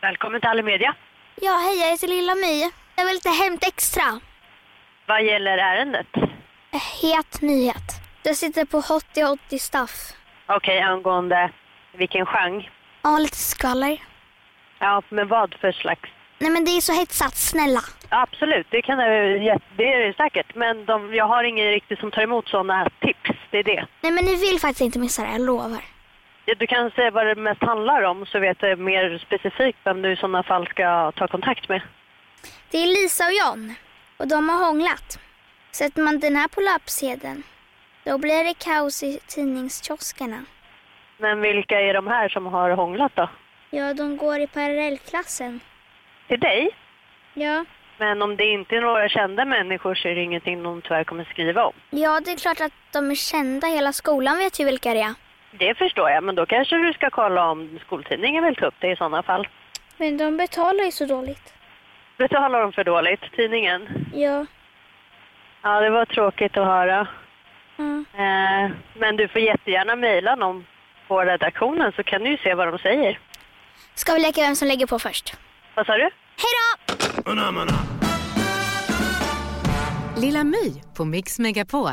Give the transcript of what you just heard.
Välkommen till Alimedia. Ja, hej, jag heter Lilla My. Jag vill lite Hämt Extra. Vad gäller ärendet? Het nyhet. Jag sitter på Hottie Hottie Staff. Okej, angående vilken genre? Ja, lite skvaller. Ja, men vad för slags? Nej, men det är så hetsat, snälla. Ja, absolut, det, kan, det det är det säkert. Men de, jag har ingen riktigt som tar emot sådana tips. Det är det. Nej, men ni vill faktiskt inte missa det, jag lovar. Ja, Du kan säga vad det mest handlar om så vet jag mer specifikt vem du i sådana fall ska ta kontakt med. Det är Lisa och John och de har hånglat. Sätter man den här på löpsedeln, då blir det kaos i tidningskioskerna. Men vilka är de här som har hånglat då? Ja, de går i parallellklassen. Till dig? Ja. Men om det inte är några kända människor så är det ingenting de tyvärr kommer skriva om. Ja, det är klart att de är kända. Hela skolan vet ju vilka det är. Det förstår jag, men då kanske du ska kolla om skoltidningen vill ta upp det i sådana fall. Men de betalar ju så dåligt. Betalar de för dåligt, tidningen? Ja. Ja, det var tråkigt att höra. ja. Eh, men du får jättegärna mejla någon på redaktionen så kan du ju se vad de säger. Ska vi leka vem som lägger på först? Vad sa du? Hej då! Lilla My på Mix Megapol.